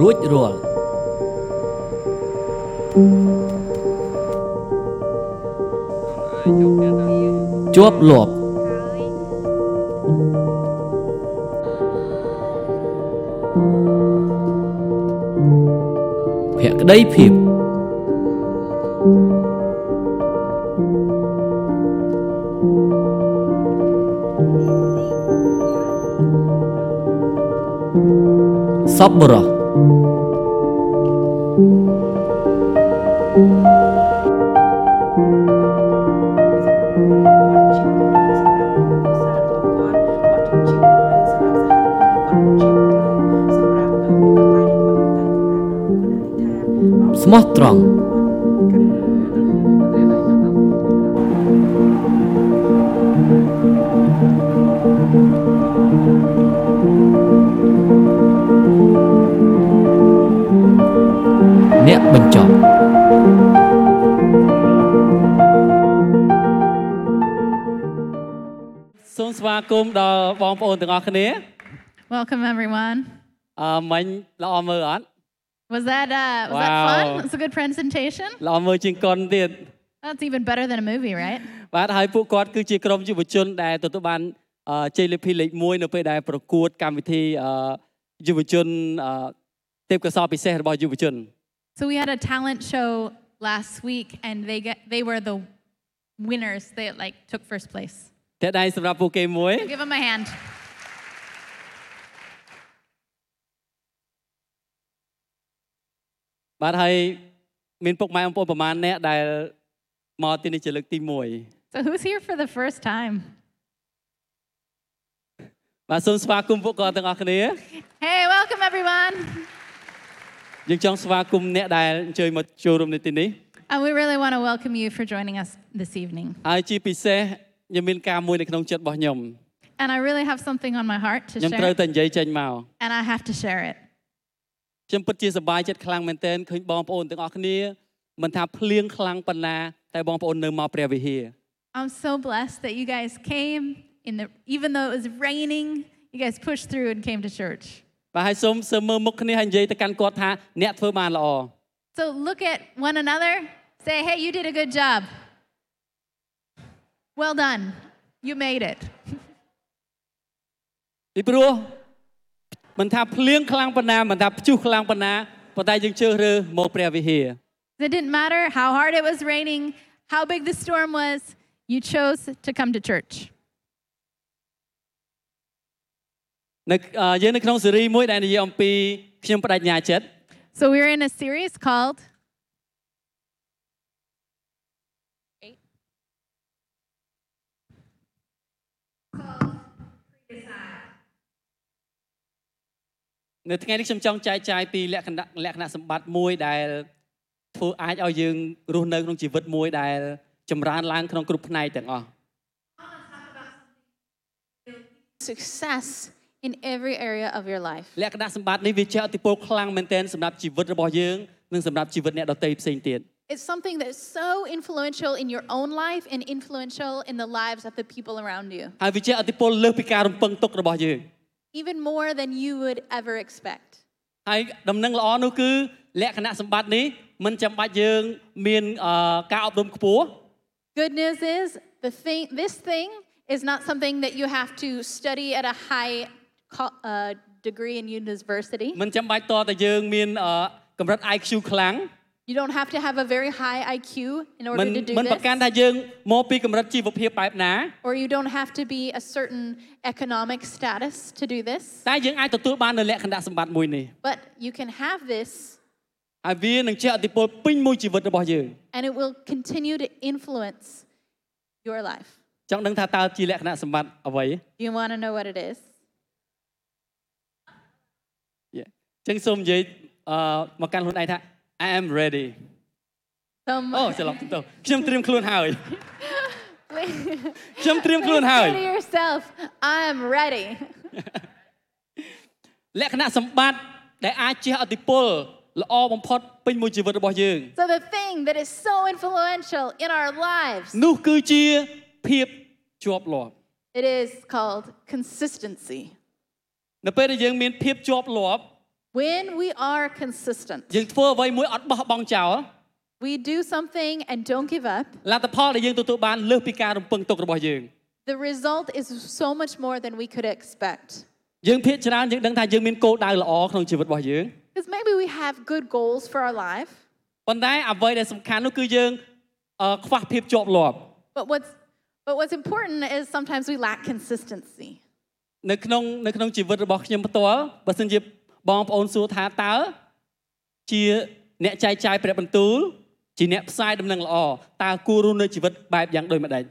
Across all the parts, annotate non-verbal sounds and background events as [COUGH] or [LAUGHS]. រួចរាល់ជាប់លាប់ ហើយ ភក្តីភាពសប្បុរស គាត់ជាសម្រាប់គ្រួសាររបស់គាត់គាត់ជាសម្រាប់សហគមន៍គាត់ជាសម្រាប់ក្រុមសម្រាប់ក្រុមតែគាត់តែគាត់អធិដ្ឋានអ ស្មោះត្រង់អ្នកបញ្ចប់ សូមស្វាគមន៍ដល់បងប្អូនទាំងអស់គ្នា Welcome everyone. អឺមិញល្អមើលអត់ Was that uh, was that Wow. fun? It's a good presentation. ល្អមើលជាងកុនទៀត That's even better than a movie, right? បាទហើយពួកគាត់គឺជាក្រុមយុវជនដែលទទួលបានអឺជ័យលាភីលេខ1នៅពេលដែលប្រកួតកម្មវិធីអឺយុវជនអឺទេពកោសល្យពិសេសរបស់យុវជន So we had a talent show last week, and they get they were the winners. They like took first place. តែដៃសម្រាប់ពួកគេមួយ Give them a hand. បាទហើយមានពុកម៉ែបងប្អូនប្រមាណអ្នកដែលមកទីនេះជាលើកទី1 So who's here for the first time? បាទសូមស្វាគមន៍ពួកគាត់ទាំងអស់គ្នា Hey, welcome everyone. យើងចង់ស្វាគមន៍អ្នកដែលអញ្ជើញមកចូលរួមនៅទីនេះ And we really want to welcome you for joining us this evening. ហើយជាពិសេសខ្ញុំមានការមួយនៅក្នុងចិត្តរបស់ខ្ញុំ And I really have something on my heart to ខ្ញុំត្រូវ share, តែនិយាយចេញមក and I have to share it. ខ្ញុំពិតជាសប្បាយចិត្តខ្លាំងមែនទែនឃើញបងប្អូនទាំងអស់គ្នាមិនថាភ្លៀងខ្លាំងប៉ុណ្ណាតែបងប្អូននៅមកព្រះវិហារ I'm so blessed that you guys came in the even though it was raining, you guys pushed through and came to church. បាទហើយសូមសើមើលមុខគ្នាហើយនិយាយទៅកាន់គាត់ថាអ្នកធ្វើបានល្អ So look at one another, say, "Hey, you did a good job. Well done. You made it." [LAUGHS] ពីព្រោះមិនថាភ្លៀងខ្លាំងប៉ុណ្ណាមិនថាព្យុះខ្លាំងប៉ុណ្ណាប៉ុន្តែយើងជឿរើសមកព្រះវិហារ It didn't matter how hard it was raining, how big the storm was, you chose to come to church. នៅអឺយើងនៅក្នុងស៊េរីមួយដែលនិយាយអំពីខ្ញុំបដិញ្ញាចិត្ត So we're in a series called នៅថ្ងៃនេះខ្ញុំចង់ចែកចាយពីលក្ខណៈលក្ខណៈសម្បត្តិមួយដែលធ្វើអាចឲ្យយើងរស់នៅក្នុងជីវិតមួយដែលចម្រើនឡើងក្នុងគ្រប់ផ្នែកទាំងអស់ success in every area of your life. លក្ខណៈសម្បត្តិនេះវាជាអតិពលខ្លាំងមែនទែនសម្រាប់ជីវិតរបស់យើងនិងសម្រាប់ជីវិតអ្នកដទៃផ្សេងទៀត It's something that's so influential in your own life and influential in the lives of the people around you, ហើយវាជាអតិពលលើសពីការរំពឹងទុករបស់យើង even more than you would ever expect. ហើយដំណឹងល្អនោះគឺលក្ខណៈសម្បត្តិនេះមិនចាំបាច់យើងមានអឺការអប់រំខ្ពស់ Good news is the thing, this thing is not something that you have to study at a high co- uh, degree in university. មិនចាំបាច់តតែយើងមានអឺកម្រិត IQ ខ្លាំង You don't have to have a very high IQ in មិន order to do មិនប្រកាន់ this, ថាយើងមកពីកម្រិតជីវភាពបែបណា or you don't have to be a certain economic status to do this. តែយើងអាចទទួលបាននៅលក្ខណៈសម្បត្តិមួយនេះ But you can have this ហើយវានឹងជាអតិពលពេញមួយជីវិតរបស់យើង and it will continue to influence your life. ចង់ដឹងថាតើជាលក្ខណៈសម្បត្តិអ្វី Do you want to know what it is? យេអញ្ចឹងសូមនិយាយអឺមកកាន់ខ្លួនឯងថា I am ready So m- អូច្រ [LAUGHS] ឡំទៅខ្ញុំត្រៀមខ្លួនហើយខ្ញុំត្រៀមខ្លួនហើយ say to yourself, I'm ready. លក្ខណៈសម្បត្តិដែលអាចជាអតិពលល្អបំផុតពេញមួយជីវិតរបស់យើង So the thing that is so influential in our lives, នោះគឺជាភាពជាប់លាប់ it is called consistency. នៅពេលដែលយើងមានភាពជាប់លាប់ When we are consistent, យើងធ្វើអ្វីមួយអត់បោះបង់ចោល we do something and don't give up, លទ្ធផលដែលយើងទទួលបានលើសពីការរំពឹងទុករបស់យើង the result is so much more than we could expect. យើងភាកច្រើនយើងដឹងថាយើងមានគោលដៅល្អក្នុងជីវិតរបស់យើង Because maybe we have good goals for our life, ប៉ុន្តែអ្វីដែលសំខាន់នោះគឺយើងអឺខ្វះភាពជាប់លាប់ but what's but what's important is sometimes we lack consistency. នៅក្នុងនៅក្នុងជីវិតរបស់ខ្ញុំផ្ទាល់បើសិនជាបងប្អូនសួរថាតើជាអ្នកចែកចាយព្រះបន្ទូលជាអ្នកផ្សាយដំណឹងល្អតើគួររស់នៅជីវិតបែបយ៉ាងដូចម្តេច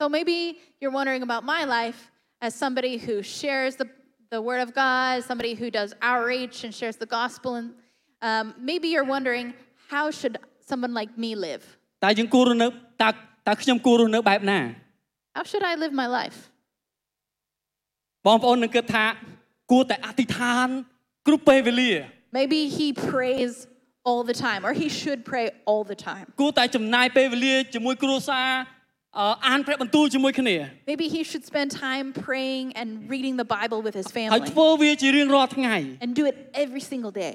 So maybe you're wondering about my life as somebody who shares the, the word of God, somebody who does outreach and shares the gospel, and um, maybe you're wondering how should someone like me live? តើយើងគួររស់នៅតើតើខ្ញុំគួររស់នៅបែបណា How should I live my life? បងប្អូននឹងគិតថាគួរតែអធិដ្ឋានគ្រប់ពេលវេលា Maybe he prays all the time, or he should pray all the time. គួរតែចំណាយពេលវេលាជាមួយគ្រួសារអឺអានព្រះបន្ទូលជាមួយគ្នា Maybe he should spend time praying and reading the Bible with his ហើយ family ធ្វើវាជារៀងរាល់ថ្ងៃ and do it every single day.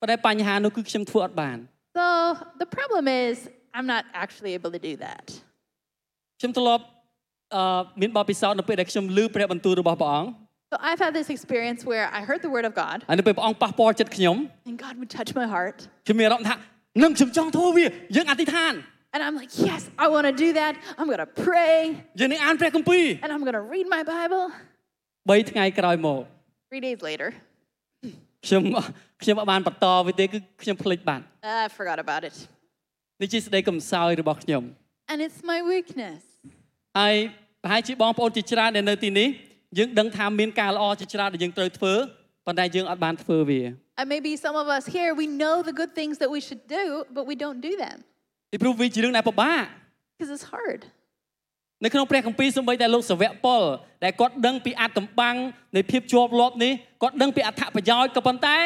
ប៉ុន្តែបញ្ហានោះគឺខ្ញុំធ្វើអត់បាន So the problem is, I'm not actually able to do that. ខ្ញុំធ្លាប់អឺមានបទពិសោធន៍នៅពេលដែលខ្ញុំឮព្រះបន្ទូលរបស់ព្រះអង្គ So I've had this experience where I heard the word of God ហើយនៅពេលព្រះអង្គប៉ះពាល់ចិត្តខ្ញុំ and God would touch my heart. ខ្ញុំមានអារម្មណ៍ថានឹងខ្ញុំចង់ធ្វើវាយើងអធិដ្ឋាន And I'm like, yes, I want to do that. I'm going to pray យើងនឹងអានព្រះគម្ពីរ and I'm going to read my Bible. 3ថ្ងៃក្រោយមក Three days later, ខ្ញុំ [LAUGHS] ខ្ញុំអត់បានបន្តវាទេគឺខ្ញុំភ្លេចបាត់ Uh, I forgot about it. នេះជាស្ដីកំសោយរបស់ខ្ញុំ And it's my weakness. ហើយប្រហែលជាបងប្អូនជាច្រើនដែលនៅទីនេះយើងដឹងថាមានការល្អជាច្រើនដែលយើងត្រូវធ្វើប៉ុន្តែយើងអត់បានធ្វើវា And maybe some of us here, we know the good things that we should do, but we don't do them ពីព្រោះវាជារឿងដែលពិបាក because it's hard. នៅក្នុងព្រះគម្ពីរសូម្បីតែលោកសាវកប៉ុលដែលគាត់ដឹងពីអត្តកម្បាំងនៃភាពជាប់លាប់នេះគាត់ដឹងពីអត្ថប្រយោជន៍ក៏ប៉ុន្តែ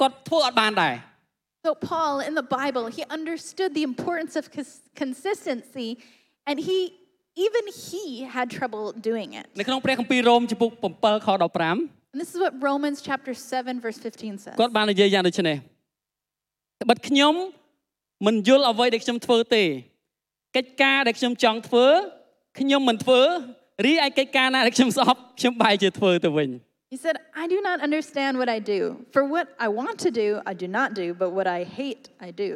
គាត់ធ្វើអត់បានដែរ So, Paul in the Bible, he understood the importance of cons- consistency, and he, even he, had trouble doing it. នៅក្នុងព្រះគម្ពីររ៉ូមជំពូក7ខ15 And this is what Romans chapter 7, verse 15 says. គាត់បាននិយាយយ៉ាងដូចនេះត្បិតខ្ញុំមិនយល់អ្វីដែលខ្ញុំធ្វើទេកិច្ចការដែលខ្ញុំចង់ធ្វើខ្ញុំមិនធ្វើរីឯកិច្ចការណាដែលខ្ញុំស្អប់ខ្ញុំបែរជាធ្វើទៅវិញ He said, I do not understand what I do. For what I want to do, I do not do, but what I hate, I do.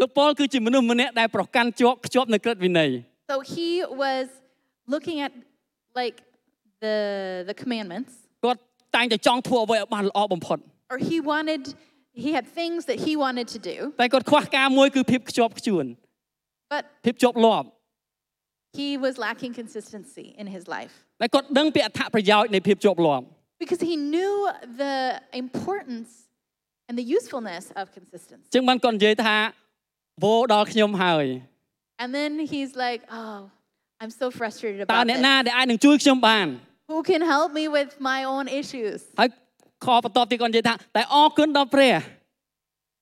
លោកប៉ុលគឺជាមនុស្សម្នាក់ដែលប្រកាន់ជាប់ខ្ជាប់នៅក្រឹតវិន័យ So he was looking at like the the commandments, គាត់តែងតែចង់ធ្វើអ្វីឲ្យបានល្អបំផុត or he wanted he had things that he wanted to do, តែគាត់ខ្វះការមួយគឺភាពខ្ជាប់ខ្ជួន but ភាពជាប់លាប់ he was lacking consistency in his life. តែគាត់ដឹងពីអត្ថប្រយោជន៍នៃភាពជាប់លាប់ Because he knew the importance and the usefulness of consistency. ចឹងបានគាត់និយាយថាវោដល់ខ្ញុំហើយ And then he's like, Oh, I'm so frustrated តើ about អ្នក this. ណាដែលអាចនឹងជួយខ្ញុំបាន Who can help me with my own issues? ហើយខបន្ទាប់ទៀតគាត់និយាយថាតែអរគុណដល់ព្រះ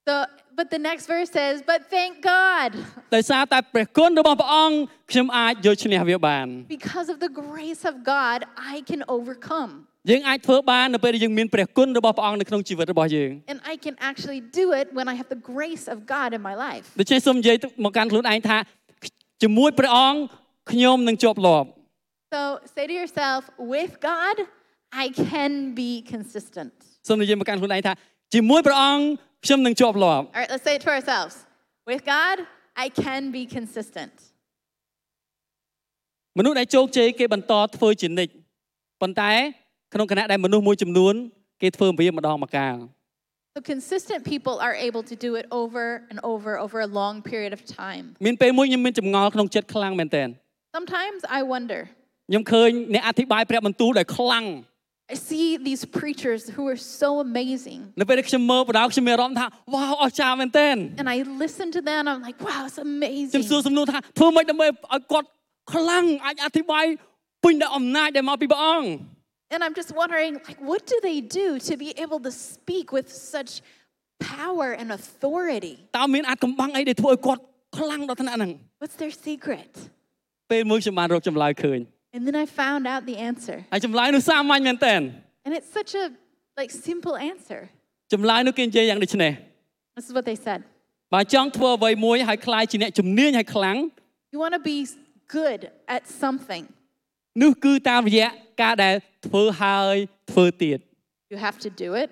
So, but the next verse says, "But thank God, ដោយសារតែព្រះគុណរបស់ព្រះអង្គខ្ញុំអាចយកឈ្នះវាបាន because of the grace of God, I can overcome, យើងអាចធ្វើបាននៅពេលដែលយើងមានព្រះគុណរបស់ព្រះអង្គនៅក្នុងជីវិតរបស់យើង and I can actually do it when I have the grace of God in my life." ដូច្នេះសូមនិយាយទៅមកកាន់ខ្លួនឯងថាជាមួយព្រះអង្គខ្ញុំនឹងជាប់លាប់ So, say to yourself, "With God, I can be consistent." សូមនិយាយមកកាន់ខ្លួនឯងថាជាមួយព្រះអង្គខ្ញុំនឹងជាប់លាប់ All right, let's say it to ourselves. With God, I can be consistent. មនុស្សដែលជោគជ័យគេបន្តធ្វើជានិច្ចប៉ុន្តែក្នុងគណៈដែលមនុស្សមួយចំនួនគេធ្វើវាម្ដងម្កាល So, consistent people are able to do it over and over over a long period of time. មានពេលមួយខ្ញុំមានចម្ងល់ក្នុងចិត្តខ្លាំងមែនទែន Sometimes I wonder. ខ្ញុំឃើញអ្នកអធិប្បាយព្រះបន្ទូលដែលខ្លាំង I see these preachers who are so amazing. នៅពេលដែលខ្ញុំមើលបណ្ដោខ្ញុំមានអារម្មណ៍ថាវ៉ាវអស្ចារ្យមែនទែន And I listened to them. and I'm like, wow, it's ខ្ញុំ amazing. សួរសំណួរថាធ្វើម៉េចដើម្បីឲ្យគាត់ខ្លាំងអាចអធិប្បាយពេញដោយអំណាចដែលមកពីព្រះអង្គ And I'm just wondering, like, what do they do to be able to speak with such power and authority? តើមានអាចកំបាំងអីដែលធ្វើឲ្យគាត់ខ្លាំងដល់ថ្នាក់ហ្នឹង What's their secret? ពេលមួយខ្ញុំបានរកចម្លើយឃើញ And then I found out the answer. ហើយចម្លើយនោះសាមញ្ញមែនទែន And it's such a like simple answer. ចម្លើយនោះគេនិយាយយ៉ាងដូចនេះ This is what they said. បើចង់ធ្វើអ្វីមួយឲ្យខ្លាយជាអ្នកជំនាញឲ្យខ្លាំង You want to be good at something, នោះគឺតាមរយៈការដែលធ្វើហើយធ្វើទៀត you have to do it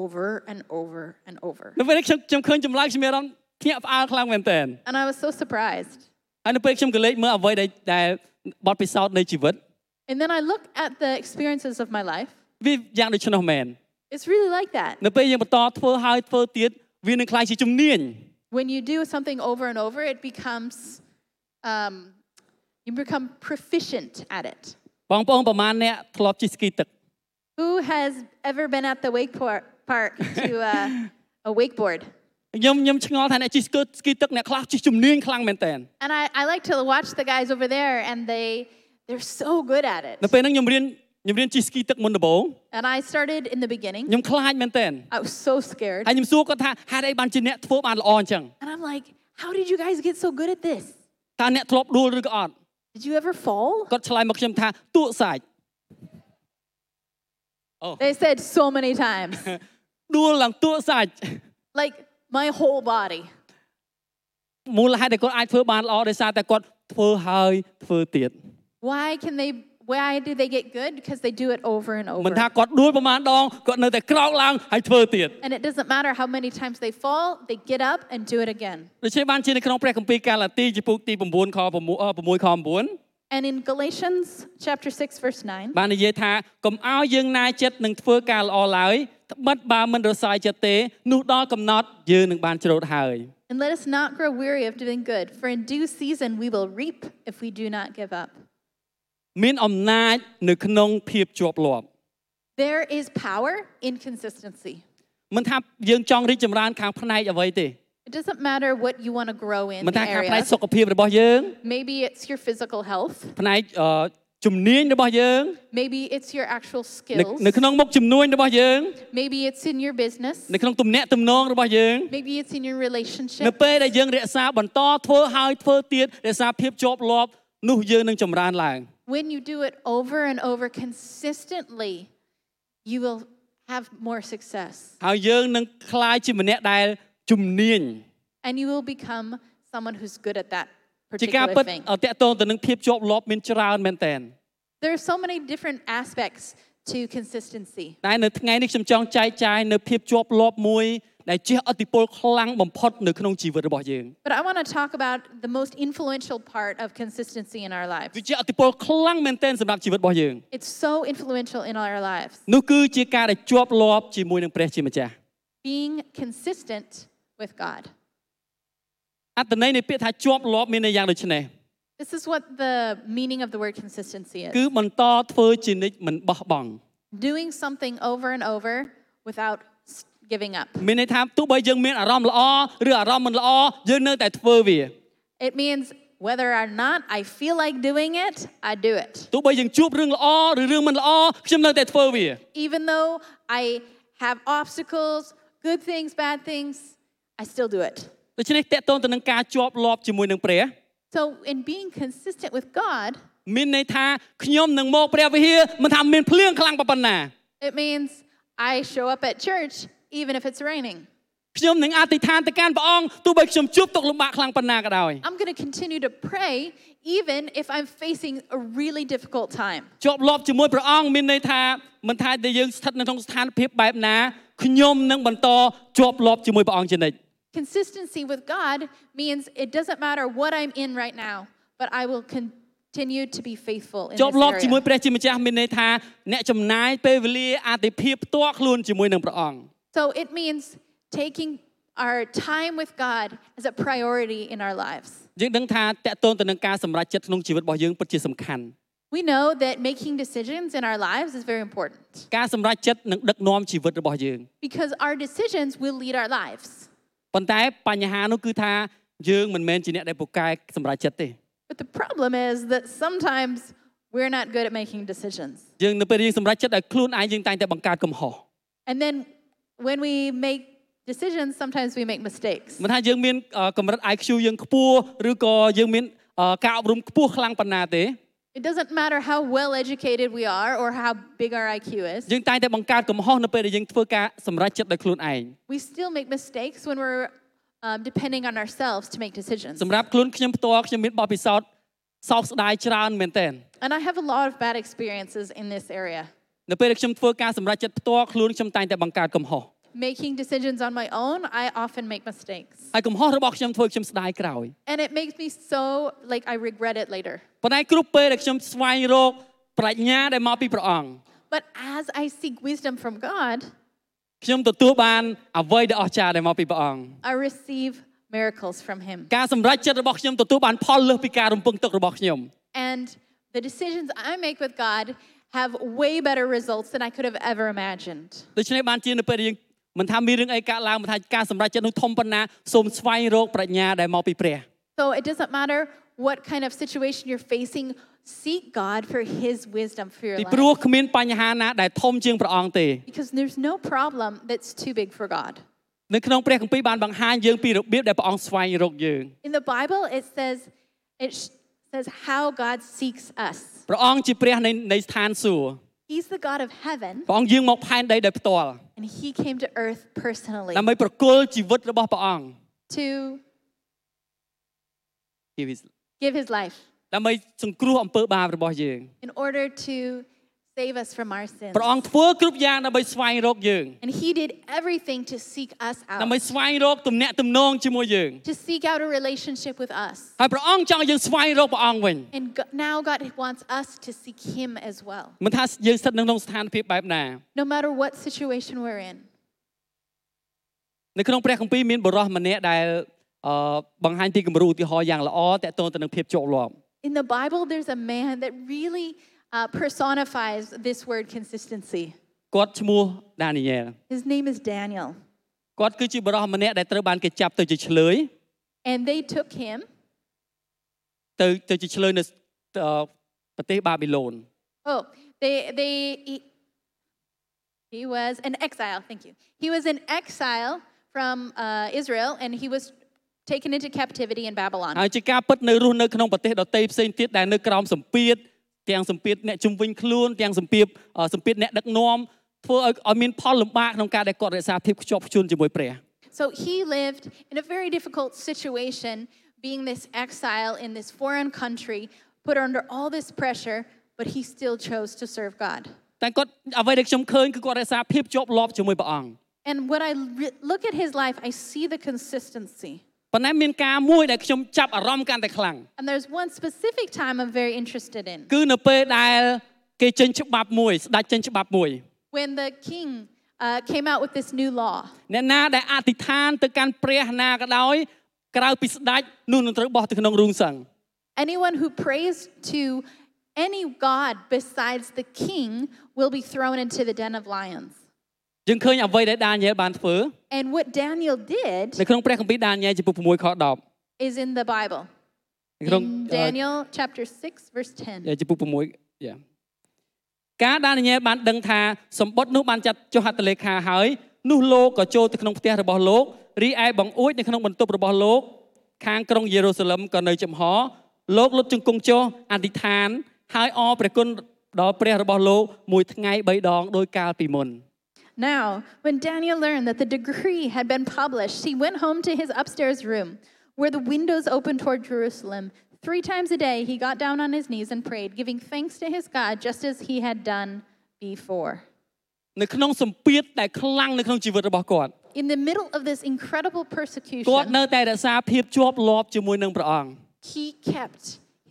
over and over and over. នៅពេលនេះខ្ញុំខ្ញុំឃើញចម្លើយខ្ញុំមានអារម្មណ៍ភ្ញាក់ផ្អើលខ្លាំងមែនទែន And I was so surprised. ហើយនៅពេលខ្ញុំក៏លេចមើលអ្វីដែលដែលបទពិសោធន៍នៃជីវិត And then I look at the experiences of my life. វាយ៉ាងដូច្នោះមែន It's really like that. នៅពេលយើងបន្តធ្វើហើយធ្វើទៀតវានឹងខ្លាយជាជំនាញ When you do something over and over, it becomes, um, you become proficient at it. បងប្អូនប្រហែលអ្នកធ្លាប់ជិះស្គីទឹក Who has ever been at the wake por- park to uh, a wakeboard? ខ្ញុំខ្ញុំឆ្ងល់ថាអ្នកជិះស្គីស្គីទឹកអ្នកខ្លះជិះជំនាញខ្លាំងមែនទែន And I, I like to watch the guys over there, and they they're so good at នៅ it. ពេលហ្នឹងខ្ញុំរៀនខ្ញុំរៀនជិះស្គីទឹកមុនដំបូង And I started in the beginning. ខ្ញុំខ្លាចមែនទែន I was so scared, ហើយខ្ញុំសួរគាត់ថាហេតុអីបានជាអ្នកធ្វើបានល្អអញ្ចឹង and I'm like, "How did you guys get so good at this? តើអ្នកធ្លាប់ដួលឬក៏អត់ Did you ever fall?" គាត់ឆ្លើយមកខ្ញុំថាទូកសាច់អូ They said so many times, ដួលឡើងទូកសាច់ [LAUGHS] like my whole body. មូលហេតុដែលគាត់អាចធ្វើបានល្អដោយសារតែគាត់ធ្វើហើយធ្វើទៀត Why can they? Why do they get good? Because they do it over and មិនថា over. គាត់ដួលប្រមាណដងគាត់នៅតែក្រោកឡើងហើយធ្វើទៀត And it doesn't matter how many times they fall, they get up and do it again. ដូច្នេះបានជានៅក្នុងព្រះគម្ពីរកាឡាទីជំពូកទី9ខ6អឺ6ខ9 And in Galatians chapter 6 verse 9, បាននិយាយថាកុំឲ្យយើងណាយចិត្តនឹងធ្វើការល្អឡើយត្បិតបើមិនរសាយចិត្តទេនោះដល់កំណត់យើងនឹងបានច្រូតហើយ and let us not grow weary of doing good, for in due season we will reap if we do not give up. មានអំណាចនៅក្នុងភាពជាប់លាប់ There is power in consistency. មិនថាយើងចង់រីកចម្រើនខាងផ្នែកអ្វីទេ It doesn't matter what you want to grow in មិនថា the ខាងផ្នែក area. សុខភាពរបស់យើង Maybe it's your physical health, ផ្នែកអឺជំនាញរបស់យើង maybe it's your actual នៅ skills, នៅក្នុងមុខជំនួញរបស់យើង maybe it's in your business, នៅក្នុងទំនាក់ទំនងរបស់យើង maybe it's in your នៅ relationship. ពេលដែលយើងរក្សាបន្តធ្វើហើយធ្វើទៀតរក្សាភាពជាប់លាប់នោះយើងនឹងចម្រើនឡើង When you do it over and over consistently, you will have more success ហើយយើងនឹងក្លាយជាម្នាក់ដែលជំនាញ and you will become someone who's good at that ជាការពិ particular ត thing. តកតងទៅនឹងភាពជាប់លាប់មានច្រើនមែនតើ There are so many different aspects to consistency. តែនៅថ្ងៃនេះខ្ញុំចង់ចែកចាយនៅភាពជាប់លាប់មួយដែលជះឥទ្ធិពលខ្លាំងបំផុតនៅក្នុងជីវិតរបស់យើង But I want to talk about the most influential part of consistency in our lives. វាជាអតិពលខ្លាំងមែនទែនសម្រាប់ជីវិតរបស់យើង It's so influential in our lives. នោះគឺជាការដែលជាប់លាប់ជាមួយនឹងព្រះជាម្ចាស់ Being consistent with God. អត្តន័យនៃពាក្យថាជាប់លាប់មានន័យយ៉ាងដូចនេះ This is what the meaning of the word consistency is គឺបន្តធ្វើជានិច្ចមិនបោះបង់ doing something over and over without s- giving up. មានន័យថាទោះបីយើងមានអារម្មណ៍ល្អឬអារម្មណ៍មិនល្អយើងនៅតែធ្វើវា It means whether or not I feel like doing it, I do it. ទោះបីយើងជួបរឿងល្អឬរឿងមិនល្អខ្ញុំនៅតែធ្វើវា Even though I have obstacles, good things, bad things, I still do it. ដូច្នេះតកតងទៅនឹងការជាប់លាប់ជាមួយនឹងព្រះ So, in being consistent with God, មានន័យថាខ្ញុំនឹងមកព្រះវិហារមិនថាមានភ្លៀងខ្លាំងប៉ុណ្ណា it means I show up at church even if it's raining. ខ្ញុំនឹងអធិដ្ឋានទៅកាន់ព្រះអង្គទោះបីខ្ញុំជួបទុក្ខលំបាកខ្លាំងប៉ុណ្ណាក៏ដោយ I'm going to continue to pray even if I'm facing a really difficult time. ជាប់លាប់ជាមួយព្រះអង្គមានន័យថាមិនថាតែយើងស្ថិតនៅក្នុងស្ថានភាពបែបណាខ្ញុំនឹងបន្តជាប់លាប់ជាមួយព្រះអង្គជានិច្ច Consistency with God means it doesn't matter what I'm in right now, but I will continue to be faithful in ជាប់ this លាប់ជាមួយ area. ព្រះជាម្ចាស់មានន័យថាអ្នកចំណាយពេលវេលាអតិភិបផ្ទាល់ខ្លួនជាមួយនឹងព្រះអង្គ So it means taking our time with God as a priority in our lives. យើងដឹងថាតកតងទៅនឹងការសម្រេចចិត្តក្នុងជីវិតរបស់យើងពិតជាសំខាន់ We know that making decisions in our lives is very important ការសម្រេចចិត្តនឹងដឹកនាំជីវិតរបស់យើង because our decisions will lead our lives. ប៉ុន្តែបញ្ហានោះគឺថាយើងមិនមែនជាអ្នកដែលពូកែសម្រេចចិត្តទេ But the problem is that sometimes we're not good at making decisions. យើងនៅពេលយើងសម្រេចចិត្តឲ្យខ្លួនឯងយើងតែងតែបង្កើតកំហុស And then when we make decisions, sometimes we make mistakes. មិនថាយើងមានអឺកម្រិត IQ យើងខ្ពស់ឬក៏យើងមានអឺការអប់រំខ្ពស់ខ្លាំងប៉ុណ្ណាទេ It doesn't matter how well educated we are or how big our IQ is. យើងតែងតែបង្កើតកំហុសនៅពេលដែលយើងធ្វើការសម្រេចចិត្តដោយខ្លួនឯង We still make mistakes when we're um, depending on ourselves to make decisions. សម្រាប់ខ្លួនខ្ញុំផ្ទាល់ខ្ញុំមានបទពិសោធន៍សោកស្ដាយច្រើនមែនទែន And I have a lot of bad experiences in this area. នៅពេលដែលខ្ញុំធ្វើការសម្រេចចិត្តផ្ទាល់ខ្លួនខ្ញុំតែងតែបង្កើតកំហុស Making decisions on my own, I often make mistakes. ហើយកំហុសរបស់ខ្ញុំធ្វើខ្ញុំស្ដាយក្រោយ And it makes me so, like, I regret it later. ប៉ុន្តែគ្រប់ពេលដែលខ្ញុំស្វែងរកប្រាជ្ញាដែលមកពីព្រះអង្គ But as I seek wisdom from God, ខ្ញុំទទួលបានអ្វីដែលអស្ចារ្យដែលមកពីព្រះអង្គ I receive miracles from Him. ការសម្រេចចិត្តរបស់ខ្ញុំទទួលបានផលលើសពីការរំពឹងទុករបស់ខ្ញុំ And the decisions I make with God have way better results than I could have ever imagined. ដូច្នេះបានជានៅពេលដែលយើងមិនថាមានរឿងអីកើតឡើងមិនថាការសម្រេចចិត្តនោះធំប៉ុណ្ណាសូមស្វែងរកប្រាជ្ញាដែលមកពីព្រះ So it doesn't matter what kind of situation you're facing, seek God for His wisdom for your ពីព្រោះ life. គ្មានបញ្ហាណាដែលធំជាងព្រះអង្គទេ Because there's no problem that's too big for God. នៅក្នុងព្រះគម្ពីរបានបង្ហាញយើងពីរបៀបដែលព្រះអង្គស្វែងរកយើង In the Bible, it says, it sh- says how God seeks us. ព្រះអង្គជាព្រះនៃនៃស្ថានសួគ៌ He's the God of heaven, ព្រះអង្គយាងមកផែនដីដោយផ្ទាល់ and He came to earth personally ដើម្បីប្រគល់ជីវិតរបស់ព្រះអង្គ to Give his- give His life ដើម្បីសង្គ្រោះអំពើបាបរបស់យើង in order to save us from our sins. ព្រះអង្គធ្វើគ្រប់យ៉ាងដើម្បីស្វែងរកយើង And He did everything to seek us ដើម្បី out, ស្វែងរកទំនាក់ទំនងជាមួយយើង to seek out a relationship with us. ហើយព្រះអង្គចង់យើងស្វែងរកព្រះអង្គវិញ And go- now God wants us to seek Him as well, មិនថាយើងស្ថិតនៅក្នុងស្ថានភាពបែបណា no matter what situation we're in. នៅក្នុងព្រះគម្ពីរមានបុរសម្នាក់ដែលអឺបង្ហាញពីគំរូឧទាហរណ៍យ៉ាងល្អតាក់ទងទៅនឹងភាពជាប់លាប់ In the Bible, there's a man that really uh, personifies this word consistency. គាត់ឈ្មោះដានីយ៉ែល His name is Daniel. គាត់គឺជាបុរសម្នាក់ដែលត្រូវបានគេចាប់ទៅជាឆ្លើយ And they took him. ទៅទៅជាឆ្លើយនៅអឺប្រទេសបាប៊ីឡូន Oh, they, they, he, he was in exile. Thank you. He was in exile from uh, Israel and he was taken into captivity in Babylon. ហើយជាការពិតនៅរស់នៅក្នុងប្រទេសដទៃផ្សេងទៀតដែលនៅក្រោមសម្ពាធទាំងសម្ពាធអ្នកជំនវិញខ្លួនទាំងសម្ពាធអឺសម្ពាធអ្នកដឹកនាំធ្វើឲ្យឲ្យមានផលលំបាកក្នុងការដែលគាត់រក្សាភាពខ្ជាប់ខ្ជួនជាមួយព្រះ So he lived in a very difficult situation, being this exile in this foreign country, put under all this pressure, but he still chose to serve God. តែគាត់អ្វីដែលខ្ញុំឃើញគឺគាត់រក្សាភាពជាប់លាប់ជាមួយព្រះអង្គ And when I re- look at his life, I see the consistency. ប៉ុន្តែមានការមួយដែលខ្ញុំចាប់អារម្មណ៍កាន់តែខ្លាំង And there's one specific time I'm very interested in គឺនៅពេលដែលគេចេញច្បាប់មួយស្ដេចចេញច្បាប់មួយ when the king uh, came out with this new law. អ្នកណាដែលអធិដ្ឋានទៅកាន់ព្រះណាក៏ដោយក្រៅពីស្ដេចនោះនឹងត្រូវបោះទៅក្នុងរូងសឹង Anyone who prays to any god besides the king will be thrown into the den of lions. យើងឃើញអ្វីដែលដានីយ៉ែលបានធ្វើ And what Daniel did នៅក្នុងព្រះគម្ពីរដានីយ៉ែលចំពោះ6ខ10 is in the Bible. នៅក្នុង In Daniel chapter 6, verse 10. ចំពោះ6យ៉ាការដានីយ៉ែលបានដឹងថាសម្បត្តិនោះបានចាត់ចុះហត្ថលេខាហើយនោះលោកក៏ចូលទៅក្នុងផ្ទះរបស់លោករីឯបង្អួចនៅក្នុងបន្ទប់របស់លោក ខាងក្រុងយេរូសាឡឹមក៏នៅចំហលោកលុតជង្គង់ចុះអធិដ្ឋាន ហើយអរព្រះគុណដល់ព្រះរបស់លោកមួយថ្ងៃ3ដងដោយកាលពីមុន Now, when Daniel learned that the decree had been published, he went home to his upstairs room, where the windows opened toward Jerusalem. Three times a day, he got down on his knees and prayed, giving thanks to his God, just as he had done before. នៅក្នុងសម្ពាធដែលខ្លាំងនៅក្នុងជីវិតរបស់គាត់ In the middle of this incredible គាត់ persecution, នៅតែរក្សាភាពជាប់លាប់ជាមួយនឹងព្រះអង្គ he kept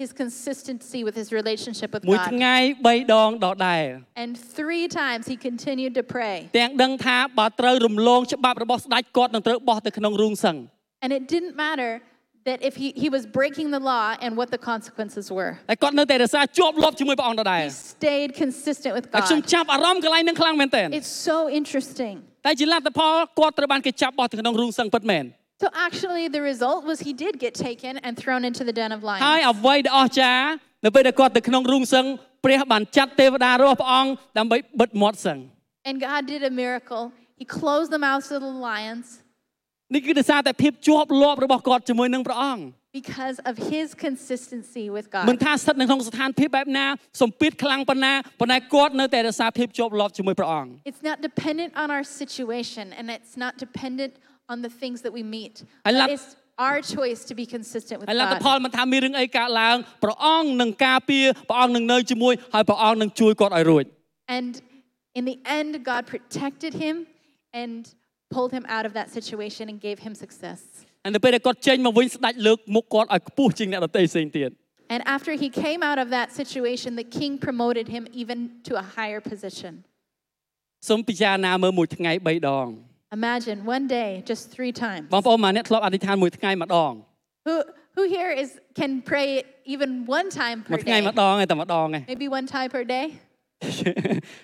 his consistency with his relationship with មួយ God. ថ្ងៃ3ដងដដែល And three times he continued to pray. ទាំងដឹងថាបើត្រូវរំលងច្បាប់របស់ស្ដេចគាត់នឹងត្រូវបោះទៅក្នុងរូងសឹង And it didn't matter that if he, he was breaking the law and what the consequences were. តែគាត់នៅតែរក្សាជាប់លាប់ជាមួយព្រះអង្គដដែល He stayed consistent with ហើយខ្ញុំ God. ចាប់អារម្មណ៍កន្លែងនឹងខ្លាំងមែនទែន It's so interesting. តែជាលទ្ធផលគាត់ត្រូវបានគេចាប់បោះទៅក្នុងរូងសឹងពិតមែន So actually, the result was he did get taken and thrown into the den of ហើយ lions. អ្វីដែលអស្ចារ្យនៅពេលដែលគាត់ទៅក្នុងរូងសឹងព្រះបានចាត់ទេវតារបស់ព្រះអង្គដើម្បីបិទមាត់សឹង And God did a miracle. He closed the mouths of the lions. នេះគឺដោយសារតែភាពជាប់លាប់របស់គាត់ជាមួយនឹងព្រះអង្គ because of his consistency with មិន God. ថាស្ថិតនៅក្នុងស្ថានភាពបែបណាសម្ពាធខ្លាំងប៉ុណ្ណាប៉ុន្តែគាត់នៅតែរក្សាភាពជាប់លាប់ជាមួយព្រះអង្គ It's not dependent on our situation and it's not dependent on the things that we meet. I But love- it's our choice to be consistent with ហើយលទ្ធ God. ផលមិនថាមានរឿងអីកើតឡើងព្រះអង្គនឹងការពារព្រះអង្គនឹងនៅជាមួយហើយព្រះអង្គនឹងជួយគាត់ឲ្យរួច And in the end, God protected him and pulled him out of that situation and gave him success. ហើយនៅពេលដែលគាត់ចេញមកវិញស្ដាច់លើកមុខគាត់ឲ្យខ្ពស់ជាងអ្នកដទៃផ្សេងទៀត And after he came out of that situation, the king promoted him even to a higher position. សូមពិចារណាមើលមួយថ្ងៃ3ដង Imagine one day, just three times. បងប្អូនមកអ្នកធ្លាប់អធិដ្ឋានមួយថ្ងៃម្ដង Who, who here is can pray even one time មួ per យថ្ងៃ day? ម្ដងឯងតែម្ដង [LAUGHS] ឯង Maybe one time per day?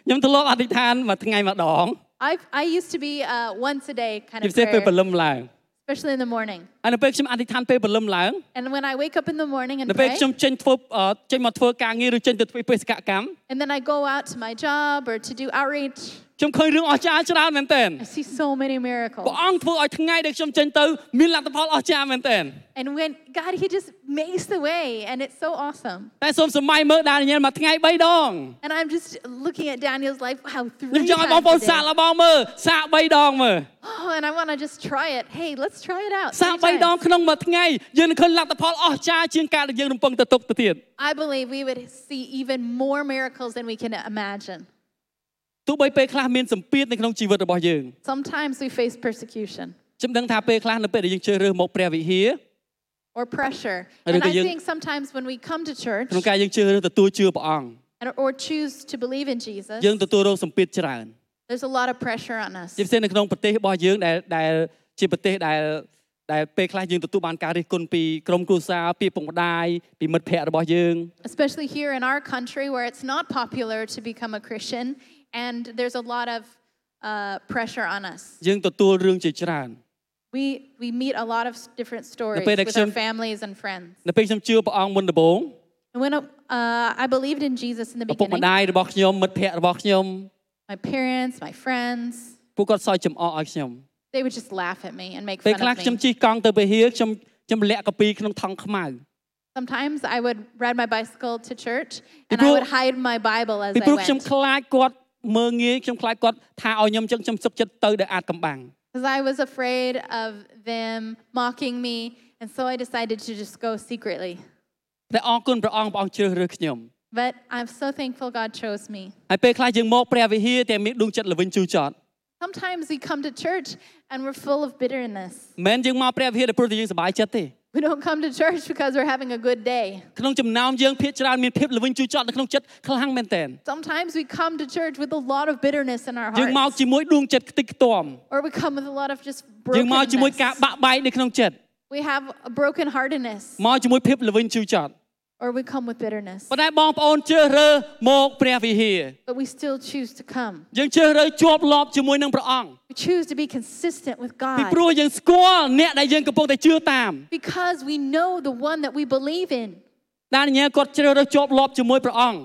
ខ្ញុំធ្លាប់អធិដ្ឋានមួយថ្ងៃម្ដង I, I used to be uh, once a day kind ជា of ពិសេសពេល prayer, ព្រលឹមឡើង especially in the morning. ហើយនៅពេលខ្ញុំអធិដ្ឋានពេលព្រលឹមឡើង And when I wake up in the morning and នៅពេល pray, ខ្ញុំចេញធ្វើអឺចេញមកធ្វើការងារឬចេញទៅធ្វើបេសកកម្ម and then I go out to my job or to do outreach, ខ្ញុំឃើញរឿងអស្ចារ្យច្រើនមែនទែន I see so many miracles. ព្រះអង្គធ្វើឲ្យថ្ងៃដែលខ្ញុំចេញទៅមានលទ្ធផលអស្ចារ្យមែនទែន And when God, He just makes the way, and it's so awesome. តែសូមសម័យមើលដានីយ៉ែលមួយថ្ងៃ3ដង And I'm just looking at Daniel's life. Wow, ខ្ញុំ three ចង់ឲ្យបង times ប្អូន a សាក day. ល្បងមើលសាក3ដងមើល Oh, and I want to just try it. Hey, let's try it out. សាក three 3ដង times. ក្នុងមួយថ្ងៃយើងនឹងឃើញលទ្ធផលអស្ចារ្យជាងការដែលយើងរំពឹងទៅទុកទៅទៀត I believe we would see even more miracles than we can imagine. ទោះបីពេលខ្លះមានសម្ពាធនៅក្នុងជីវិតរបស់យើង Sometimes we face persecution ខ្ញុំដឹងថាពេលខ្លះនៅពេលដែលយើងជ្រើសរើសមកព្រះវិហារ or pressure. Ano And I tayo- think sometimes when we come to church ក្នុងការយើងជ្រើសរើសទទួលជឿព្រះអង្គ and- or choose to believe in យើង Jesus, ទទួលរងសម្ពាធច្រើន there's a lot of pressure on us. ជាពិសេសនៅក្នុងប្រទេសរបស់យើងដែលដែលជាប្រទេសដែលដែលពេលខ្លះយើងទទួលបានការរិះគន់ពីក្រុមគ្រួសារពីឪពុកម្ដាយពីមិត្តភ័ក្តិរបស់យើង especially here in our country where it's not popular to become a Christian, and there's a lot of uh, pressure on us. យើងទទួលរឿងជាច្រើន We we meet a lot of s- different stories Napay with our reaksyon- families and friends. នៅពេលខ្ញុំជឿព្រះអង្គមុនដំបូង And when uh, I believed in Jesus in the ឪពុកម្ beginning, ដាយរបស់ខ្ញុំមិត្តភ័ក្តិរបស់ខ្ញុំ my parents, my friends, ពួកគាត់សើចចំអកឲ្យខ្ញុំ they would just laugh at me and make ពេល fun ខ្លះខ្ញុំ of me. ជិះកង់ទៅវិហារខ្ញុំខ្ញុំលាក់កាពីក្នុងថង់ខ្មៅ Sometimes I would ride my bicycle to church and Ipro- I would hide my Bible as ពី I ព្រោះខ្ញុំ went ខ្លាចគាត់មើងងាយខ្ញុំខ្លាចគាត់ថាឲ្យខ្ញុំចឹងខ្ញុំសឹកចិត្តទៅដែលអាចកំបាំង because I was afraid of them mocking me, and so I decided to just go secretly. តែអរគុណព្រះអង្គព្រះអង្គជ្រើសរើសខ្ញុំ But I'm so thankful God chose me. ហើយពេលខ្លះយើងមកព្រះវិហារតែមានដួងចិត្តល្វីងជូរចត់ Sometimes we come to church and we're full of bitterness. មិនមែនយើងមកព្រះវិហារដែលព្រោះតែយើងសប្បាយចិត្តទេ We don't come to church because we're having a good day. ក្នុងចំណោមយើងភាកច្រើនមានភាពល្វីងជូរចត់នៅក្នុងចិត្តខ្លាំងមែនតើ Sometimes we come to church with a lot of bitterness in our យើងមក hearts, ជាមួយដួងចិត្តខ្ទេចខ្ទាំ or we come with a lot of just យើងមកជាមួយការ brokenness. បាក់បែកនៅក្នុងចិត្ត We have a broken heartedness, មកជាមួយភាពល្វីងជូរចត់ or we come with bitterness. ប៉ុន្តែបងប្អូនជ្រើសរើសមកព្រះវិហារ But we still choose to come. យើងជ្រើសរើសជាប់លាប់ជាមួយនឹងព្រះអង្គ We choose to be consistent with ពី God ព្រោះយើងស្គាល់អ្នកដែលយើងកំពុងតែជឿតាម because we know the one that we believe in. ដានីយ៉ែលគាត់ជ្រើសរើសជាប់លាប់ជាមួយព្រះអង្គ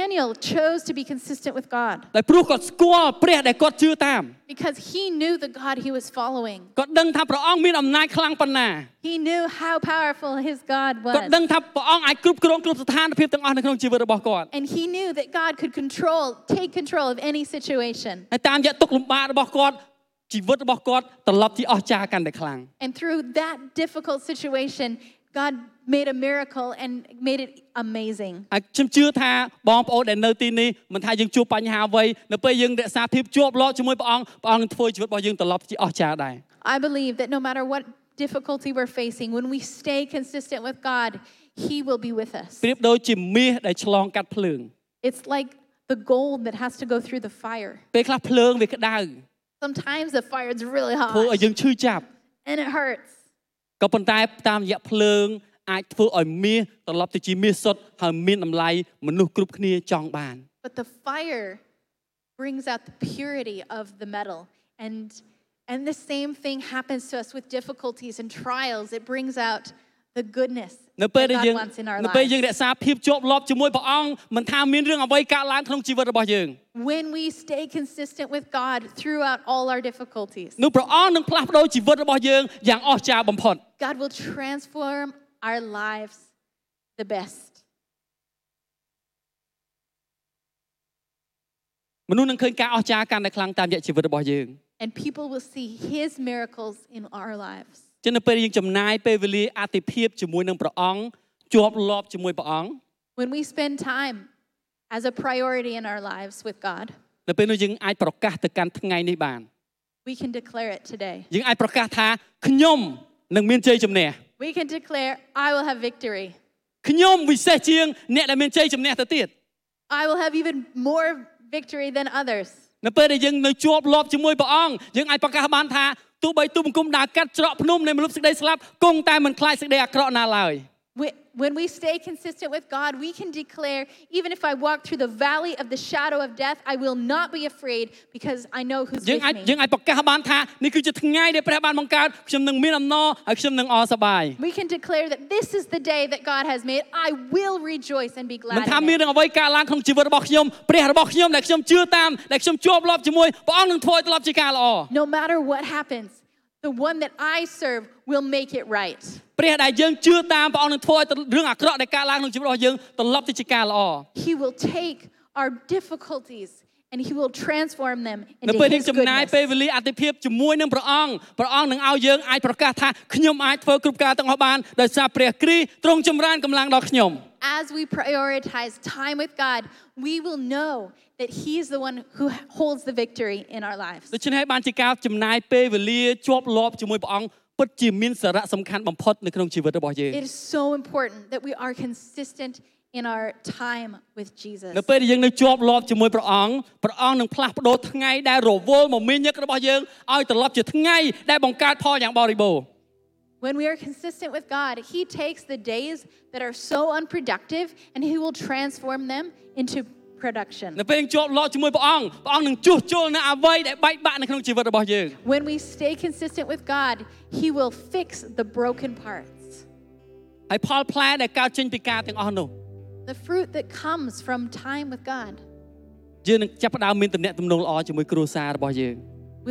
Daniel chose to be consistent with God ដោយព្រោះគាត់ស្គាល់ព្រះដែលគាត់ជឿតាម because he knew the God he was following. គាត់ដឹងថាព្រះអង្គមានអំណាចខ្លាំងប៉ុណ្ណា He knew how powerful his គា God ត់ was. ដឹងថាព្រះអង្គអាចគ្រប់គ្រងគ្រប់ស្ថានភាពទាំងអស់នៅក្នុងជីវិតរបស់គាត់ And he knew that God could control, take control of any situation. ហើយតាមរយៈទុកលំបាករបស់គាត់ជីវិតរបស់គាត់ត្រឡប់ជាអស្ចារ្យកាន់តែខ្លាំង And through that difficult situation, God made a miracle and made it amazing. ហើយខ្ញុំជឿថាបងប្អូនដែលនៅទីនេះមិនថាយើងជួបបញ្ហាអ្វីនៅពេលយើងរក្សាភាពជាប់លាប់ជាមួយព្រះអង្គព្រះអង្គនឹងធ្វើជីវិតរបស់យើងត្រឡប់ជាអស្ចារ្យដែរ I believe that no matter what difficulty we're facing, when we stay consistent with God, he will be with us. ប្រៀបដូចជាមាសដែលឆ្លងកាត់ភ្លើង It's like the gold that has to go through the fire. ពេលខ្លះភ្លើងវាក្តៅ Sometimes the fire is really ធ្វើឲ្យ hot យើងឈឺចាប់ and it hurts. ក៏ប៉ុន្តែតាមរយៈភ្លើងអាចធ្វើឲ្យមាសត្រឡប់ទៅជាមាសសុទ្ធហើយមានតម្លៃមនុស្សគ្រប់គ្នាចង់បាន But the fire brings out the purity of the metal. And, and the same thing happens to us with difficulties and trials. It brings out the goodness នៅ that ពេលដែលយើង God wants in our នៅពេលយើង lives. រក្សាភាពជាប់លាប់ជាមួយព្រះអង្គមិនថាមានរឿងអ្វីកើតឡើងក្នុងជីវិតរបស់យើង When we stay consistent with God throughout all our difficulties, នោះព្រះអង្គនឹងផ្លាស់ប្ដូរជីវិតរបស់យើងយ៉ាងអស្ចារ្យបំផុត God will transform our lives the best. មនុស្សនឹងឃើញការអស្ចារ្យកាន់តែខ្លាំងតាមរយៈជីវិតរបស់យើង And people will see his miracles in our lives. ចឹងនៅពេលដែលយើងចំណាយពេលវេលាអតិភិបជាមួយនឹងព្រះអង្គជាប់លាប់ជាមួយព្រះអង្គ When we spend time as a priority in our lives with God, នៅពេលនោះយើងអាចប្រកាសទៅកាន់ថ្ងៃនេះបាន we can declare it today. យើងអាចប្រកាសថាខ្ញុំនឹងមានជ័យជំនះ We can declare, I will have victory. ខ្ញុំពិសេសជាងអ្នកដែលមានជ័យជំនះទៅទៀត I will have even more victory than others. នៅពេលដែលយើងនៅជាប់លាប់ជាមួយព្រះអង្គយើងអាចប្រកាសបានថាទោះបីទូបង្គំដើរកាត់ច្រកភ្នំនៃមនុស្សសេចក្តីស្លាប់គង់តែមិនខ្លាចសេចក្តីអាក្រក់ណាឡើយ Wh- When we stay consistent with God, we can declare, even if I walk through the valley of the shadow of death, I will not be afraid because I know who's យើងអាច with យើង me. អាចប្រកាសបានថានេះគឺជាថ្ងៃដែលព្រះបានបង្កើតខ្ញុំនឹងមានអំណរហើយខ្ញុំនឹងអរសប្បាយ We can declare that this is the day that God has made. I will rejoice and be មិន glad. ថា in មាន it. រឿងអ្វីកើតឡើងក្នុងជីវិតរបស់ខ្ញុំព្រះរបស់ខ្ញុំដែលខ្ញុំជឿតាមដែលខ្ញុំជាប់លាប់ជាមួយព្រះអង្គនឹងធ្វើឲ្យត្រឡប់ជាការល្អ No matter what happens, the one that I serve will make it right. ព្រះដែលយើងជឿតាមព្រះអង្គនឹងធ្វើឲ្យរឿងអាក្រក់ដែលកើតឡើងក្នុងជីវិតរបស់យើងត្រឡប់ទៅជាការល្អ He will take our difficulties and he will transform them នៅ into ពេលយើង his ចំណាយ goodness. ពេលវេលាអតិភិបជាមួយនឹងព្រះអង្គព្រះអង្គនឹងឲ្យយើងអាចប្រកាសថាខ្ញុំអាចធ្វើគ្រប់ការទាំងអស់បានដោយសារព្រះគ្រីស្ទទ្រង់ចម្រើនកម្លាំងដល់ខ្ញុំ As we prioritize time with God, we will know that he is the one who holds the victory in our lives. ដូច្នេះហើយបានជាការចំណាយពេលវេលាជាប់លាប់ជាមួយព្រះអង្គពិតជាមានសារៈសំខាន់បំផុតនៅក្នុងជីវិតរបស់យើង It is so important that we are consistent in our time with Jesus. នៅពេលដែលយើងនៅជាប់លាប់ជាមួយព្រះអង្គព្រះអង្គនឹងផ្លាស់ប្ដូរថ្ងៃដែលរវល់មមាញឹករបស់យើងឲ្យត្រឡប់ជាថ្ងៃដែលបង្កើតផលយ៉ាងបរិបូរណ៍ When we are consistent with God, He takes the days that are so unproductive and He will transform them into production. នៅពេលយើងជាប់លាប់ជាមួយព្រះអង្គព្រះអង្គនឹងជួសជុលនៅអ្វីដែលបែកបាក់នៅក្នុងជីវិតរបស់យើង When we stay consistent with God, He will fix the broken parts. ហើយផលផ្លែដែលកើតចេញពីការទាំងអស់នោះ The fruit that comes from time with God. យើងនឹងចាប់ផ្ដើមមានទំនាក់ទំនងល្អជាមួយគ្រួសាររបស់យើង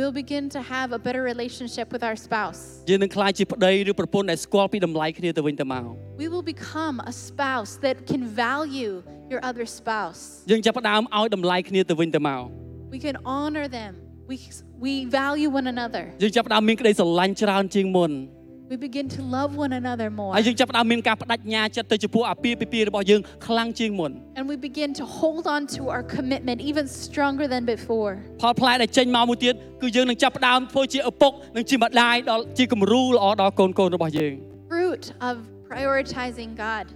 We'll begin to have a better relationship with our spouse. យើងនឹងក្លាយជាប្តីឬប្រពន្ធដែលស្គាល់ពីតម្លៃគ្នាទៅវិញទៅមក We will become a spouse that can value your other spouse. យើងចាប់ផ្ដើមឲ្យតម្លៃគ្នាទៅវិញទៅមក We can honor them. We, we value one another. យើងចាប់ផ្ដើមមានក្តីស្រឡាញ់ច្រើនជាងមុន We begin to love one another more. ហើយយើងចាប់ផ្ដើមមានការបដិញ្ញាចិត្តទៅចំពោះអាពាហ៍ពិពាហ៍របស់យើងខ្លាំងជាងមុន And we begin to hold on to our commitment even stronger than before. ផលផ្លែដែលចេញមកមួយទៀតគឺយើងនឹងចាប់ផ្ដើមធ្វើជាឪពុកនិងជាម្ដាយដល់ជាគំរូល្អដល់កូនកូនរបស់យើង Fruit of prioritizing God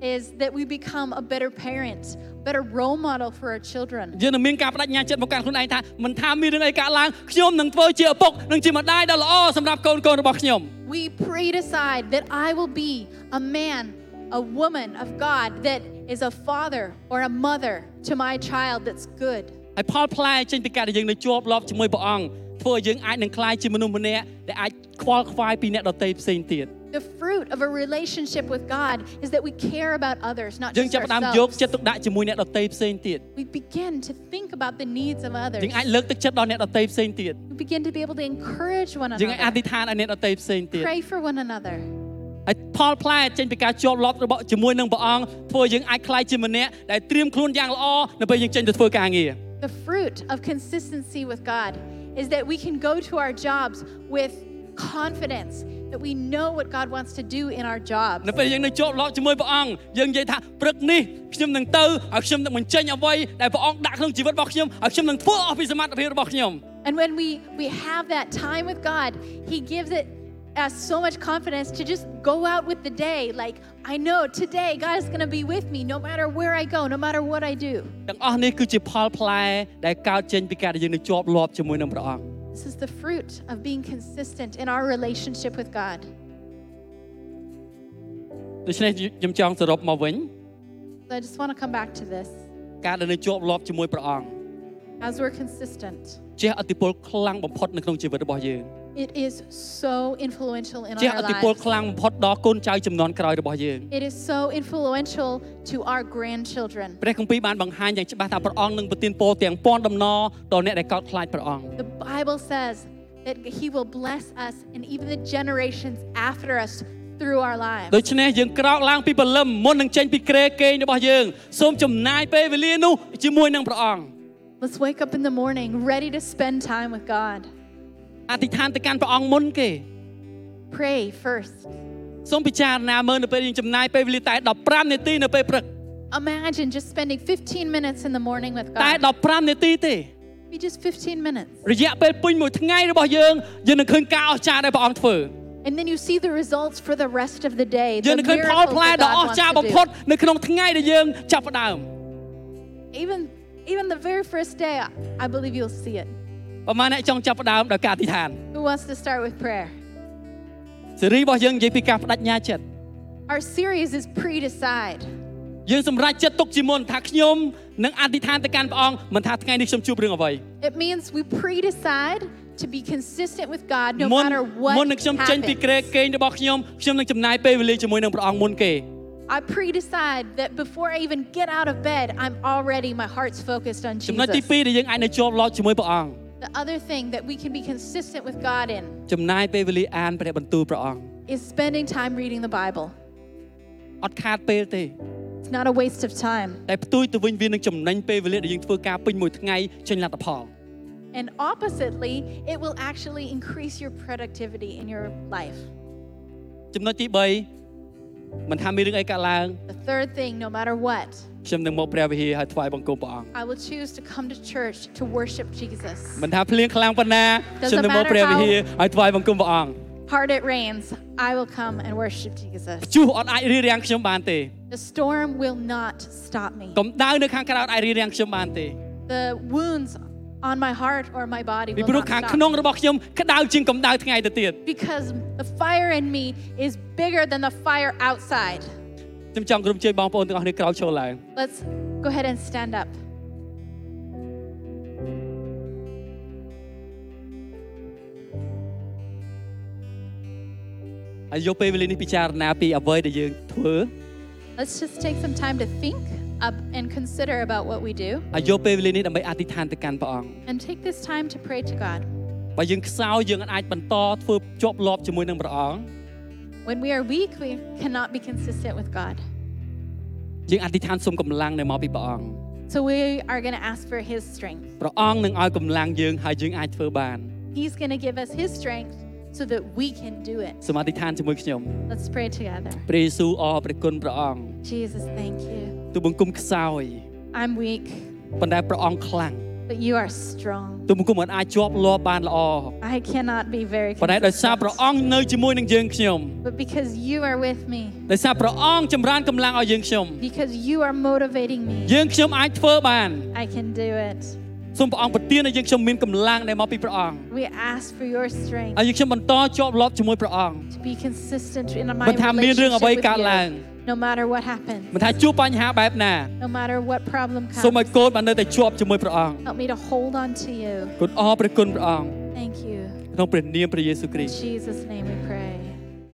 is that we become a better parent, better role model for our children. យើងនឹងមានការបដិញ្ញាចិត្តមកកាន់ខ្លួនឯងថាមិនថាមានរឿងអីកើតឡើងខ្ញុំនឹងធ្វើជាឪពុកនិងជាម្ដាយដ៏ល្អសម្រាប់កូនកូនរបស់ខ្ញុំ We pray decide that I will be a man, a woman of God that is a father or a mother to my child that's good. ហើយផលផ្លែចេញពីការដែលយើងនៅជាប់លាប់ជាមួយព្រះអង្គធ្វើឲ្យយើងអាចនឹងក្លាយជាមនុស្សម្នាក់ដែលអាចខ្វល់ខ្វាយពីអ្នកដទៃផ្សេងទៀត The fruit of a relationship with God is that we care about others, not យើង just ចាប់ផ្ដើមយកចិត្ត ourselves. ទុកដាក់ជាមួយអ្នកដទៃផ្សេងទៀត We begin to think about the needs of យើ others. ងអាចលើកទឹកចិត្តដល់អ្នកដទៃផ្សេងទៀត We begin to be able to encourage one យើងអាចអធិ another, ដ្ឋានឲ្យអ្នកដទៃផ្សេងទៀត pray for one another. ហើយផលផ្លែចេញពីការជាប់លាប់របស់ជាមួយនឹងព្រះអង្គធ្វើឲ្យយើងអាចក្លាយជាម្នាក់ដែលត្រៀមខ្លួនយ៉ាងល្អនៅពេលយើងចេញទៅធ្វើការងារ The fruit of consistency with God is that we can go to our jobs with confidence that we know what God wants to do in our នៅ jobs. ពេលយើងនៅជាប់លាប់ជាមួយព្រះអង្គយើងនិយាយថាព្រឹកនេះខ្ញុំនឹងទៅឲ្យខ្ញុំនឹងបញ្ចេញអ្វីដែលព្រះអង្គដាក់ក្នុងជីវិតរបស់ខ្ញុំឲ្យខ្ញុំនឹងធ្វើអស់ពីសមត្ថភាពរបស់ខ្ញុំ And when we we have that time with God, he gives it us so much confidence to just go out with the day like I know today God is going to be with me no matter where I go, no matter what I do. ទាំងអស់នេះគឺជាផលផ្លែដែលកើតចេញពីការដែលយើងនឹងជាប់លាប់ជាមួយនឹងព្រះអង្គ This is the fruit of being consistent in our relationship with God. ដូច្នេះខ្ញុំចង់សរុបមកវិញ So I just want to come back to this ការដែលនៅជាប់លាប់ជាមួយព្រះអង្គ as we're consistent. ជះឥទ្ធិពលខ្លាំងបំផុតនៅក្នុងជីវិតរបស់យើង It is so influential in ជាអ our តិពល lives. ខ្លាំងបំផុតដល់កូនចៅចំនួនក្រោយរបស់យើង It is so influential to our grandchildren. ព្រះគម្ពីរបានបង្ហាញយ៉ាងច្បាស់ថាព្រះអង្គនឹងប្រទានពរទាំងពាន់ដំណរដល់អ្នកដែលកោតខ្លាចព្រះអង្គ The Bible says that He will bless us and even the generations after us through our lives. ដូច្នេះយើងក្រោកឡើងពីព្រលឹមមុននឹងចេញពីគ្រែគេងរបស់យើងសូមចំណាយពេលវេលានោះជាមួយនឹងព្រះអង្គ Let's wake up in the morning ready to spend time with God. អធិដ្ឋានទៅកាន់ព្រះអង្គមុនគេ Pray first. សូមពិចារណាមើលនៅពេលយើងចំណាយពេលវេលាតែ15នាទីនៅពេលព្រឹក Imagine just spending 15 minutes in the morning with តែ God. 15នាទីទេ Maybe just 15 minutes. រយៈពេលពេញមួយថ្ងៃរបស់យើងយើងនឹងឃើញការអស្ចារ្យដែលព្រះអង្គធ្វើ And then you see the results for the rest of the day. យើង The នឹងឃើញផល miracles ផ្លែ that ដ៏អ God ស្ចារ្យបំ wants ផុត to នៅក្នុងថ្ងៃដែលយើងចាប់ផ្ដើម do. Even, even the very first day, I- I believe you'll see it. ប្រហែលអ្នកចង់ចាប់ផ្ដើមដោយការអធិដ្ឋាន Who wants to start with prayer? សេរីរបស់យើងនិយាយពីការបដិញ្ញាចិត្ត Our series is Pre Decide. យើងសម្រេចចិត្តទុកជាមុនថាខ្ញុំនឹងអធិដ្ឋានទៅកាន់ព្រះអង្គមិនថាថ្ងៃនេះខ្ញុំជួបរឿងអ្វី It means we pre decide to be consistent with God no មុន matter what. មុននឹងខ្ញុំចេញពីគ្រែ happens. គេងរបស់ខ្ញុំខ្ញុំនឹងចំណាយពេលវេលាជាមួយនឹងព្រះអង្គមុនគេ I pre decide that before I even get out of bed, I'm already, my heart's focused on ចំណុចទី Jesus. 2ដែលយើងអាចនៅជាប់ឡប់ជាមួយព្រះអង្គ The other thing that we can be consistent with God in ចំណាយពេលវេលាអានព្រះបន្ទូលព្រះអង្គ is spending time reading the Bible. អត់ខាតពេលទេ It's not a waste of time. តែផ្ទុយទៅវិញវានឹងចំណេញពេលវេលាដែលយើងធ្វើការពេញមួយថ្ងៃចេញលទ្ធផល And oppositely, it will actually increase your productivity in your life. ចំណុចទី3មិនថាមានរឿងអីកើតឡើង The third thing, no matter what, ខ្ញុំនឹងមកព្រះវិហារហើយថ្វាយបង្គំព្រះអង្គ I will choose to come to church to worship Jesus. មិនថាភ្លៀងខ្លាំងប៉ុណ្ណាខ្ញុំនឹងមកព្រះវិហារហើយថ្វាយបង្គំព្រះអង្គ Hard it rains, I will come and worship Jesus. ជួសអត់អាចរារាំងខ្ញុំបានទេ The storm will not stop me. កម្ដៅនៅខាងក្រៅអត់អាចរារាំងខ្ញុំបានទេ The wounds on my heart or my body ពី will ព្រោះ not ខាង stop ក្នុង me. របស់ខ្ញុំក្តៅជាងកម្ដៅថ្ងៃទៅទៀត Because the fire in me is bigger than the fire outside. ខ្ញុំចង់ក្រុមជួយបងប្អូនទាំងអស់គ្នាក្រោកឈរឡើង Let's go ahead and stand up. ហើយយកពេលវេលានេះពិចារណាពីអ្វីដែលយើងធ្វើ Let's just take some time to think up and consider about what we do ហើយយកពេលវេលានេះដើម្បីអធិដ្ឋានទៅកាន់ព្រះអង្គ and take this time to pray to God. បើយើងខ្សោយយើងអាចបន្តធ្វើជាប់លាប់ជាមួយនឹងព្រះអង្គ When we are weak, we cannot be consistent with God. យើងអធិដ្ឋានសុំកម្លាំងនៅមកពីព្រះអង្គ So we are going to ask for His strength. ព្រះអង្គនឹងឲ្យកម្លាំងយើងហើយយើងអាចធ្វើបាន He's going to give us His strength so that we can do it. សូមអធិដ្ឋានជាមួយខ្ញុំ Let's pray together. ព្រះយេស៊ូវអរព្រះគុណព្រះអង្គ Jesus, thank you. ទូបង្គំខ្សោយ I'm weak, ប៉ុន្តែព្រះអង្គខ្លាំង but you are strong. ទូបង្គំមិនអាចជាប់លាប់បានល្អ I cannot be very ប៉ុន្តែដោយសារព្រះអ consistent, ង្គនៅជាមួយនឹងយើងខ្ញុំ but because you are with me, ដោយសារព្រះអង្គចម្រើនកម្លាំងឲ្យយើងខ្ញុំ because you are motivating me, យើងខ្ញុំអាចធ្វើបាន I can do it. សូមព្រះអង្គប្រទានឲ្យយើងខ្ញុំមានកម្លាំងដែលមកពីព្រះអង្គ We ask for your strength ហើយយើងខ្ញុំបន្តជាប់លាប់ជាមួយព្រះអង្គ to be consistent in my មិនថាមានរឿង relationship អ្វីកើត with ឡើង you, no matter what មិន happens, ថាជួបបញ្ហាបែបណា no matter what problem សូមឲ្យ comes. កូនបាននៅតែជាប់ជាមួយព្រះអង្គ Help me to hold on to you. កូនអរព្រះគុណព្រះអង្គ Thank you. ក្នុងព្រះនាមព្រះយេស៊ូវគ្រី In ស្ទ Jesus' name we pray.